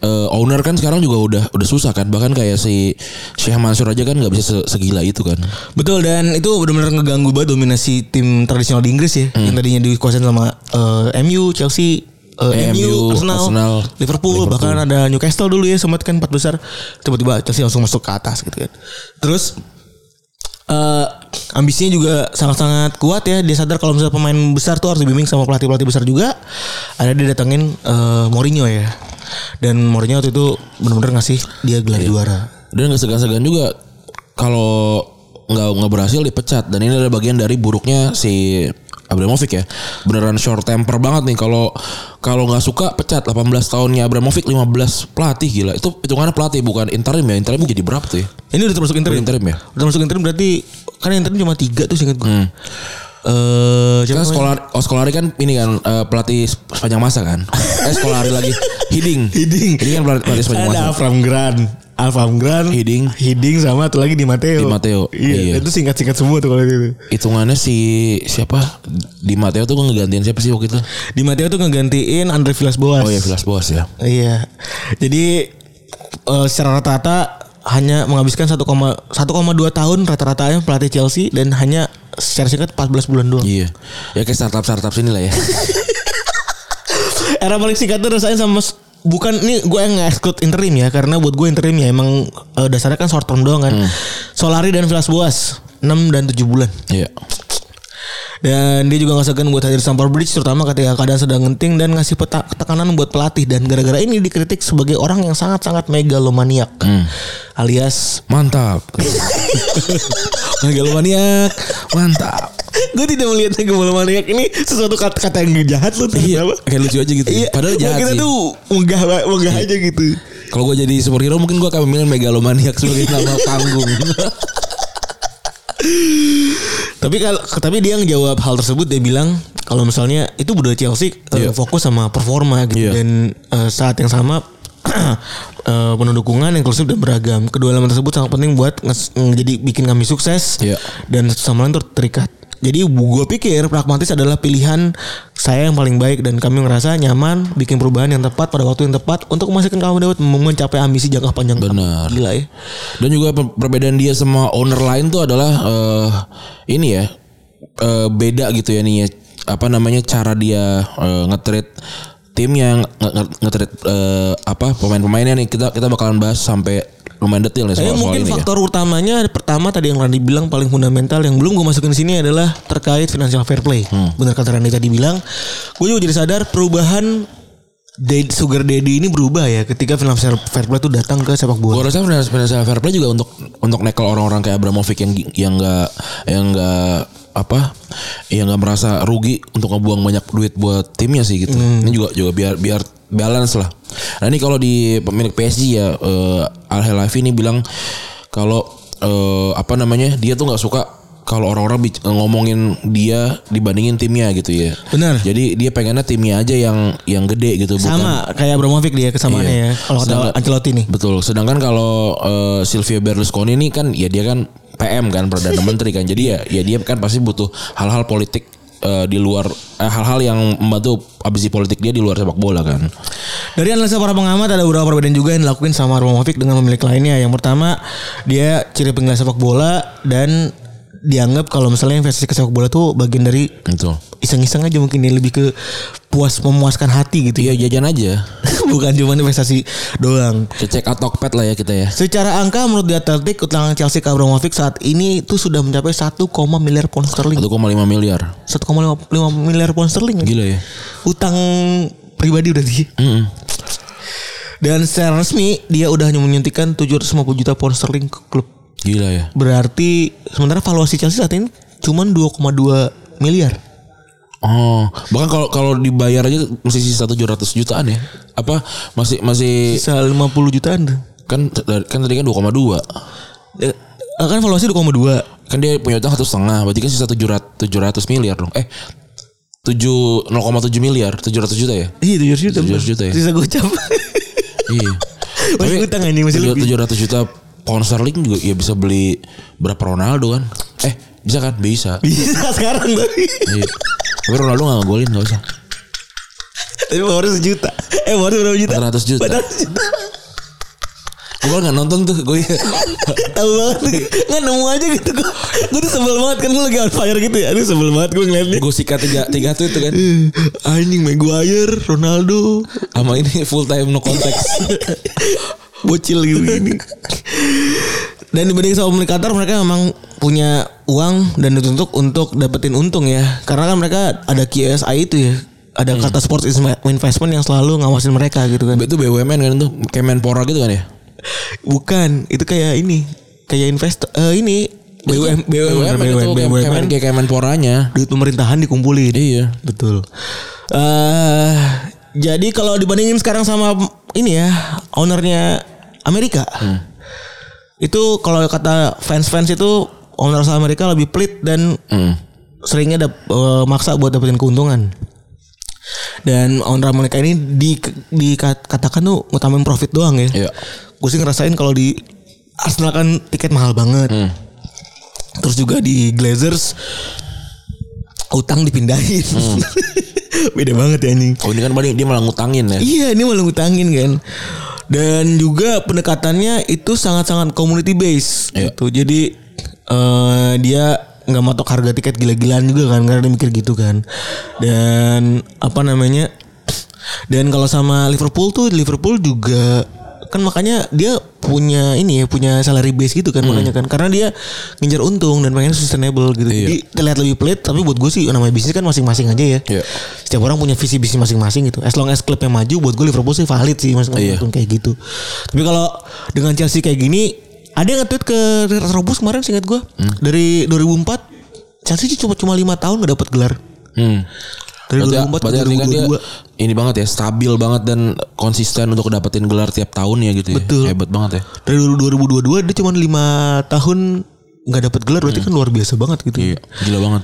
[SPEAKER 3] eh, owner kan sekarang juga udah udah susah kan. Bahkan kayak si Syekh Mansur aja kan nggak bisa se- segila itu kan.
[SPEAKER 2] Betul dan itu benar-benar ngeganggu banget dominasi tim tradisional di Inggris ya yang tadinya dikuasain sama eh, MU, Chelsea, eh,
[SPEAKER 3] MU,
[SPEAKER 2] MU, Arsenal,
[SPEAKER 3] Arsenal,
[SPEAKER 2] Liverpool,
[SPEAKER 3] Liverpool.
[SPEAKER 2] bahkan ada Newcastle dulu ya sempat kan empat besar tiba-tiba Chelsea langsung masuk ke atas gitu kan. Terus eh ambisinya juga sangat-sangat kuat ya. Dia sadar kalau misalnya pemain besar tuh harus dibimbing sama pelatih-pelatih besar juga. Ada dia datengin eh, Mourinho ya. Dan Mourinho waktu itu benar-benar ngasih dia gelar juara.
[SPEAKER 3] Dan nggak segan-segan juga kalau nggak nggak berhasil dipecat. Dan ini adalah bagian dari buruknya si Abramovich ya. Beneran short temper banget nih kalau kalau nggak suka pecat 18 tahunnya Abramovich 15 pelatih gila. Itu hitungannya pelatih bukan interim ya. Interim jadi berapa tuh ya?
[SPEAKER 2] Ini udah termasuk interim.
[SPEAKER 3] Interim ya.
[SPEAKER 2] Udah masuk interim berarti kan interim cuma tiga tuh singkat
[SPEAKER 3] Hmm.
[SPEAKER 2] gue. Eh siapa
[SPEAKER 3] Kan
[SPEAKER 2] namanya?
[SPEAKER 3] sekolah oh sekolah kan ini kan eh, pelatih sepanjang masa kan. Eh sekolah lagi Hiding.
[SPEAKER 2] Hiding.
[SPEAKER 3] Hiding kan pelatih, pelatih sepanjang
[SPEAKER 2] ada
[SPEAKER 3] masa.
[SPEAKER 2] Avram Grant, Avram Grant,
[SPEAKER 3] Hiding.
[SPEAKER 2] Hiding sama satu lagi di Mateo.
[SPEAKER 3] Di Matteo, iya.
[SPEAKER 2] Iya, itu singkat-singkat semua tuh kalau itu.
[SPEAKER 3] Hitungannya si siapa? Di Matteo tuh ngegantiin siapa sih waktu itu?
[SPEAKER 2] Di Mateo tuh ngegantiin Andre Villas-Boas.
[SPEAKER 3] Oh ya Vilas Boas ya.
[SPEAKER 2] Iya. Jadi eh, secara rata-rata hanya menghabiskan 1,1,2 tahun rata-ratanya pelatih Chelsea dan hanya secara singkat 14 bulan doang.
[SPEAKER 3] Iya. Ya kayak startup-startup sini lah ya.
[SPEAKER 2] Era paling singkat tuh rasanya sama bukan ini gue yang nge-exclude interim ya karena buat gue interim ya emang eh, dasarnya kan short term doang kan. Solari dan Villas Boas 6 dan 7 bulan.
[SPEAKER 3] Iya.
[SPEAKER 2] Dan dia juga nggak segan buat hadir sampel bridge terutama ketika keadaan sedang genting dan ngasih peta tekanan buat pelatih dan gara-gara ini dikritik sebagai orang yang sangat-sangat megalomaniak.
[SPEAKER 3] Hmm.
[SPEAKER 2] Alias
[SPEAKER 3] Mantap. Megalomaniak. Mantap.
[SPEAKER 2] gue tidak melihatnya megalomaniak ini sesuatu kata, kata yang jahat loh.
[SPEAKER 3] Iya, kayak lucu aja gitu. ya. Padahal jahat
[SPEAKER 2] kita
[SPEAKER 3] sih.
[SPEAKER 2] tuh megah megah aja gitu.
[SPEAKER 3] Kalau gue jadi superhero mungkin gue akan memilih megalomaniak sebagai nama panggung.
[SPEAKER 2] Tapi kalau tapi dia ngejawab hal tersebut dia bilang kalau misalnya itu udah Chelsea eh,
[SPEAKER 3] Iya.
[SPEAKER 2] fokus sama performa gitu
[SPEAKER 3] Iya.
[SPEAKER 2] dan eh, saat yang sama eh, penuh dukungan inklusif dan beragam. Kedua elemen tersebut sangat penting buat nges- jadi bikin kami sukses
[SPEAKER 3] Iya.
[SPEAKER 2] dan sama lain ter- terikat. Jadi gue pikir pragmatis adalah pilihan saya yang paling baik dan kami merasa nyaman bikin perubahan yang tepat pada waktu yang tepat untuk memastikan kami dapat mencapai ambisi jangka panjang.
[SPEAKER 3] Benar.
[SPEAKER 2] Gila ya.
[SPEAKER 3] Dan juga per- perbedaan dia sama owner lain tuh adalah eh, ini ya eh, beda gitu ya nih ya. apa namanya cara dia eh, nge-treat tim yang nge- nge- nge-treat eh, apa pemain-pemainnya nih kita kita bakalan bahas sampai lumayan detail nih
[SPEAKER 2] Saya
[SPEAKER 3] soal, soal
[SPEAKER 2] Eh, mungkin
[SPEAKER 3] ini ya.
[SPEAKER 2] faktor utamanya pertama tadi yang Randy bilang paling fundamental yang belum gue masukin di sini adalah terkait financial fair play.
[SPEAKER 3] Hmm.
[SPEAKER 2] Benar kata Randy tadi bilang, gue juga jadi sadar perubahan dad- sugar daddy ini berubah ya ketika financial fair play itu datang ke sepak bola.
[SPEAKER 3] Gue rasa financial, financial fair play juga untuk untuk nekel orang-orang kayak Abramovich yang yang nggak yang nggak apa yang nggak merasa rugi untuk ngebuang banyak duit buat timnya sih gitu. Ini juga juga biar biar balance lah. Nah ini kalau di pemilik PSG ya eh, Al Helaifi ini bilang kalau eh, apa namanya dia tuh nggak suka kalau orang-orang bic- ngomongin dia dibandingin timnya gitu ya.
[SPEAKER 2] Benar.
[SPEAKER 3] Jadi dia pengennya timnya aja yang yang gede gitu
[SPEAKER 2] Sama kayak Abramovich dia kesamaannya ya.
[SPEAKER 3] Iya.
[SPEAKER 2] Kalau kata
[SPEAKER 3] Sedangkan-
[SPEAKER 2] Ancelotti nih.
[SPEAKER 3] Betul. Sedangkan kalau eh, Silvio Berlusconi ini kan ya dia kan PM kan perdana menteri kan. Jadi ya ya dia kan pasti butuh hal-hal politik eh, di luar eh, hal-hal yang membantu ambisi politik dia di luar sepak bola kan.
[SPEAKER 2] Dari analisa para pengamat ada beberapa perbedaan juga yang dilakuin sama Abramovich dengan pemilik lainnya. Yang pertama dia ciri penggelas sepak bola dan dianggap kalau misalnya investasi ke sepak bola tuh bagian dari
[SPEAKER 3] Betul.
[SPEAKER 2] iseng-iseng aja mungkin dia lebih ke puas memuaskan hati gitu ya.
[SPEAKER 3] Iya jajan aja.
[SPEAKER 2] Bukan cuma investasi doang.
[SPEAKER 3] Cek atau pet lah ya kita ya.
[SPEAKER 2] Secara angka menurut The Athletic utang Chelsea ke Abramovich saat ini itu sudah mencapai 1, miliar pound sterling.
[SPEAKER 3] 1,5 miliar.
[SPEAKER 2] 1,5 miliar pound sterling.
[SPEAKER 3] Gila ya.
[SPEAKER 2] Utang pribadi udah sih.
[SPEAKER 3] Mm-mm.
[SPEAKER 2] Dan secara resmi dia udah hanya menyuntikkan 750 juta pound sterling ke klub.
[SPEAKER 3] Gila ya.
[SPEAKER 2] Berarti sementara valuasi Chelsea saat ini cuman 2,2 miliar.
[SPEAKER 3] Oh, bahkan kalau kalau dibayar aja masih sisa 700 jutaan ya. Apa masih masih
[SPEAKER 2] Sisa 50 jutaan. tuh.
[SPEAKER 3] kan kan tadi kan 2,2.
[SPEAKER 2] Eh, Kan valuasi 2,2.
[SPEAKER 3] kan dia punya utang satu setengah berarti kan sisa tujuh ratus miliar dong eh tujuh nol tujuh miliar tujuh ratus juta ya
[SPEAKER 2] Iya 700 juta.
[SPEAKER 3] 700 juta ya?
[SPEAKER 2] Sisa gocap.
[SPEAKER 3] iya
[SPEAKER 2] Masih utang anjing, masih lebih.
[SPEAKER 3] tujuh ratus juta pound sterling juga ya bisa beli berapa Ronaldo kan eh bisa kan bisa
[SPEAKER 2] Bisa sekarang tapi.
[SPEAKER 3] iya tapi Ronaldo nggak ngegolin nggak usah
[SPEAKER 2] Tapi baru sejuta. Eh baru berapa juta?
[SPEAKER 3] 400 juta.
[SPEAKER 2] 400 juta.
[SPEAKER 3] gue kan nggak nonton tuh gue
[SPEAKER 2] Tahu banget Nggak nemu aja gitu Gue gue tuh sebel banget Kan gue lagi on fire gitu ya Aduh sebel banget gue ngeliatnya
[SPEAKER 3] gue sikat tiga tiga tuh itu kan
[SPEAKER 2] Eh, Anjing Maguire Ronaldo
[SPEAKER 3] sama ini full time no context
[SPEAKER 2] Bocil gitu gini Dan dibanding sama pemilik Qatar Mereka memang punya uang Dan dituntut untuk dapetin untung ya Karena kan mereka ada QSI itu ya ada Qatar Sports Investment yang selalu ngawasin mereka gitu kan.
[SPEAKER 3] itu BUMN kan tuh kayak Menpora gitu kan ya
[SPEAKER 2] Bukan, itu kayak ini, kayak investor eh ini BUM, BUM,
[SPEAKER 3] BUMN, BUMN, kayak kayak Menporanya
[SPEAKER 2] duit pemerintahan dikumpulin.
[SPEAKER 3] iya
[SPEAKER 2] Betul. Eh jadi kalau dibandingin sekarang sama ini ya, ownernya Amerika.
[SPEAKER 3] Hmm.
[SPEAKER 2] Itu kalau kata fans-fans itu owner asal Amerika lebih pelit dan
[SPEAKER 3] Hmm.
[SPEAKER 2] seringnya dap, eh, maksa buat dapetin keuntungan. Dan owner Amerika ini di, dikatakan tuh ngutamain profit doang ya.
[SPEAKER 3] Iya.
[SPEAKER 2] Gue sih ngerasain kalau di Arsenal kan tiket mahal banget. Terus juga di Glazers utang dipindahin. Beda banget ya anjing.
[SPEAKER 3] Oh ini kan paling dia malah ngutangin ya.
[SPEAKER 2] Iya ini malah ngutangin kan. Dan juga pendekatannya itu sangat-sangat community based
[SPEAKER 3] Iya.
[SPEAKER 2] gitu. Jadi eh, dia nggak matok harga tiket gila-gilaan juga kan karena dia mikir gitu kan. Dan apa namanya? Dan kalau sama Liverpool tuh Liverpool juga kan makanya dia punya ini ya punya salary base gitu
[SPEAKER 3] Hmm.
[SPEAKER 2] kan makanya kan karena dia ngejar untung dan pengen sustainable gitu.
[SPEAKER 3] Iya.
[SPEAKER 2] Jadi terlihat lebih pelit tapi buat gue sih namanya bisnis kan masing-masing aja ya
[SPEAKER 3] Iya.
[SPEAKER 2] setiap orang punya visi visi masing-masing gitu. As long as klubnya maju, buat gue Liverpool sih valid sih mas
[SPEAKER 3] Iya.
[SPEAKER 2] untung kayak gitu. Tapi kalau dengan Chelsea kayak gini, ada yang nge-tweet ke Retrobus kemarin singkat gue
[SPEAKER 3] Hmm.
[SPEAKER 2] dari 2004 Chelsea cuma cuma lima tahun gak dapat gelar.
[SPEAKER 3] Hmm.
[SPEAKER 2] Dari
[SPEAKER 3] Berarti,
[SPEAKER 2] 2004
[SPEAKER 3] berarti
[SPEAKER 2] ke
[SPEAKER 3] artinya kan dia
[SPEAKER 2] 2022.
[SPEAKER 3] ini banget ya stabil banget dan konsisten untuk dapetin gelar tiap tahun ya gitu ya.
[SPEAKER 2] Betul.
[SPEAKER 3] Hebat banget ya.
[SPEAKER 2] Dari 2022 dia cuma lima tahun nggak dapat gelar berarti kan luar biasa banget gitu.
[SPEAKER 3] Iya, gila banget.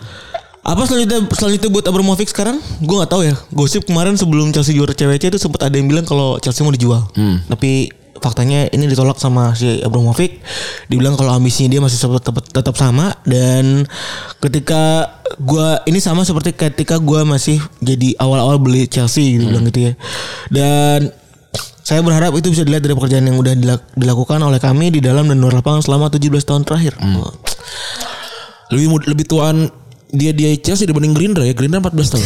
[SPEAKER 2] Apa selanjutnya selanjutnya buat Abramovich sekarang? Gue nggak tahu ya. Gosip kemarin sebelum Chelsea juara CWC itu sempat ada yang bilang kalau Chelsea mau dijual. Tapi faktanya ini ditolak sama si Abramovich. Dibilang kalau ambisinya dia masih tetap tetap, tetap sama dan ketika gua ini sama seperti ketika gua masih jadi awal-awal beli Chelsea gitu bilang gitu ya. Dan saya berharap itu bisa dilihat dari pekerjaan yang udah dilak- dilakukan oleh kami di dalam dan luar lapangan selama 17 tahun terakhir.
[SPEAKER 3] Lebih mud- lebih tuaan dia dia Chelsea dibanding Gerindra ya. Gerindra 14 tahun.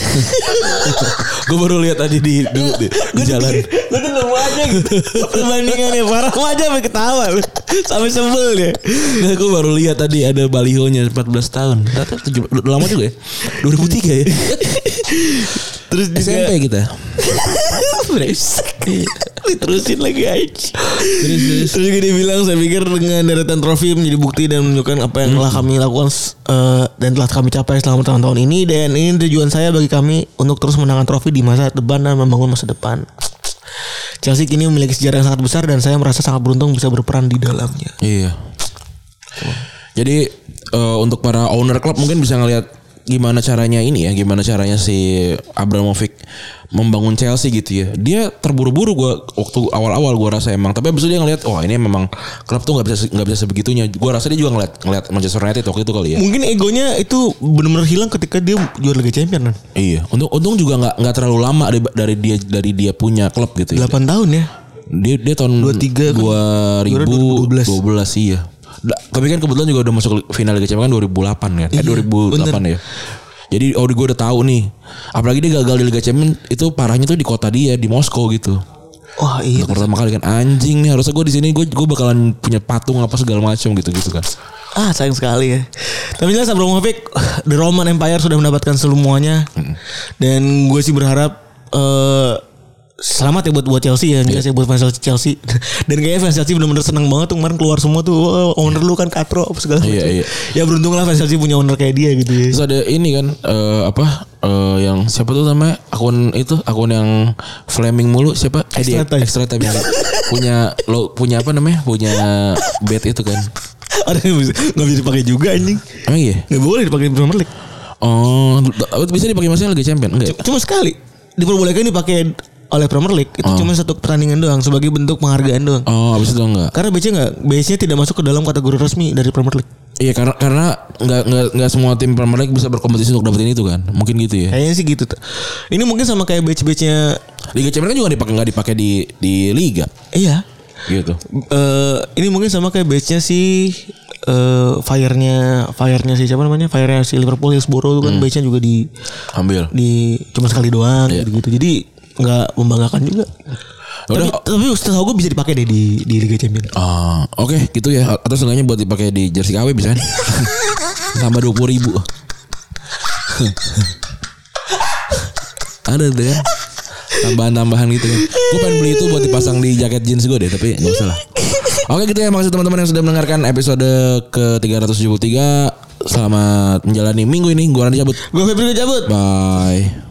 [SPEAKER 3] gue baru lihat tadi di di, di, di jalan.
[SPEAKER 2] Gue tuh nemu aja gitu Perbandingannya Parah aja sampai ketawa lu. Sampai sebel dia
[SPEAKER 3] Nah, gue baru lihat tadi ada balihonya 14 tahun. Ternyata 17 udah lama juga ya. 2003 ya.
[SPEAKER 2] Terus
[SPEAKER 3] SMP kita.
[SPEAKER 2] Brengsek Diterusin lagi aja
[SPEAKER 3] Terus, terus.
[SPEAKER 2] Terus juga dia bilang Saya pikir dengan deretan trofi Menjadi bukti dan menunjukkan Apa yang telah kami lakukan eh, Dan telah kami capai selama tahun-tahun ini Dan ini tujuan saya bagi kami Untuk terus menangkan trofi di masa depan Dan membangun masa depan Chelsea kini memiliki sejarah yang sangat besar Dan saya merasa sangat beruntung Bisa berperan di dalamnya
[SPEAKER 3] Iya. Jadi eh, untuk para owner klub mungkin bisa ngelihat gimana caranya ini ya, gimana caranya si Abramovich membangun Chelsea gitu ya. Dia terburu-buru gua waktu awal-awal gua rasa emang, tapi abis itu dia ngelihat wah ini memang klub tuh nggak bisa nggak bisa sebegitunya. Gua rasa dia juga ngelihat ngelihat Manchester United waktu itu kali ya.
[SPEAKER 2] Mungkin egonya itu benar-benar hilang ketika dia juara Liga Champion.
[SPEAKER 3] Iya, untung untung juga nggak nggak terlalu lama dari, dari dia dari dia punya klub gitu. Ya.
[SPEAKER 2] 8 tahun ya.
[SPEAKER 3] Dia dia
[SPEAKER 2] 23
[SPEAKER 3] tahun
[SPEAKER 2] kan? Juara
[SPEAKER 3] 2012. 2012 iya. Da- Tapi kan kebetulan juga udah masuk final Liga Champions kan 2008
[SPEAKER 2] Iya,
[SPEAKER 3] kan. Eh 2008 ya. Jadi oh gue udah tahu nih. Apalagi dia gagal di Liga Champions itu parahnya tuh di kota dia di Moskow gitu.
[SPEAKER 2] Wah iya.
[SPEAKER 3] Untuk pertama kali kan anjing nih harusnya gue di sini gue gue bakalan punya patung apa segala macam gitu gitu kan.
[SPEAKER 2] Ah sayang sekali ya. Tapi jelas Abramovich The Roman Empire sudah mendapatkan semuanya. Dan gue sih berharap eh selamat ya buat buat Chelsea ya, jelas ya buat fans Chelsea. Dan kayaknya fans Chelsea benar-benar senang banget tuh kemarin keluar semua tuh "Wah, owner lu kan katro apa segala
[SPEAKER 3] Iya,
[SPEAKER 2] macam.
[SPEAKER 3] iya.
[SPEAKER 2] Ya beruntung lah fans Chelsea punya owner kayak dia gitu ya.
[SPEAKER 3] Terus ada ini kan eh, apa eh, yang siapa tuh namanya akun itu akun yang flaming mulu siapa? Eh, dia-
[SPEAKER 2] Extra time.
[SPEAKER 3] Extra time yang punya lo punya apa namanya? Punya bed itu kan.
[SPEAKER 2] Ada yang bisa nggak bisa dipakai juga anjing.
[SPEAKER 3] Emang iya?
[SPEAKER 2] Nggak boleh dipakai di Premier League.
[SPEAKER 3] Oh, apa bisa dipakai masnya lagi champion enggak? ya?
[SPEAKER 2] Cuma sekali diperbolehkan dipakai oleh Premier League itu cuma satu pertandingan doang sebagai bentuk penghargaan doang.
[SPEAKER 3] Oh, habis itu enggak.
[SPEAKER 2] Karena BC nggak, BC tidak masuk ke dalam kategori resmi dari Premier League.
[SPEAKER 3] Iya karena karena enggak enggak enggak semua tim Premier League bisa berkompetisi untuk dapetin itu kan. Mungkin gitu ya.
[SPEAKER 2] Kayaknya sih gitu. tuh. Ini mungkin sama kayak BC-BC-nya
[SPEAKER 3] Liga Champions kan juga dipakai enggak dipakai di di liga
[SPEAKER 2] iya.
[SPEAKER 3] gitu.
[SPEAKER 2] Eh, ini mungkin sama kayak batch-nya si eh fire-nya fire-nya si siapa namanya? Fire-nya si Liverpool Hillsborough itu kan batch-nya juga di
[SPEAKER 3] Ambil.
[SPEAKER 2] di cuma sekali doang gitu-gitu. Jadi nggak membanggakan juga.
[SPEAKER 3] Udah.
[SPEAKER 2] Tapi, tapi setahu gue bisa dipakai deh di di Liga Champions.
[SPEAKER 3] Ah, oke gitu ya. Atau seenggaknya buat dipakai di jersey KW bisa kan? Tambah dua puluh ribu. Ada tuh ya. Tambahan-tambahan gitu kan. Gue pengen beli itu buat dipasang di jaket jeans gue deh, tapi nggak usah lah. Oke gitu ya, makasih teman-teman yang sudah mendengarkan episode ke 373. Selamat menjalani minggu ini. Gue Randy cabut.
[SPEAKER 2] Gue Febri gue cabut.
[SPEAKER 3] Bye.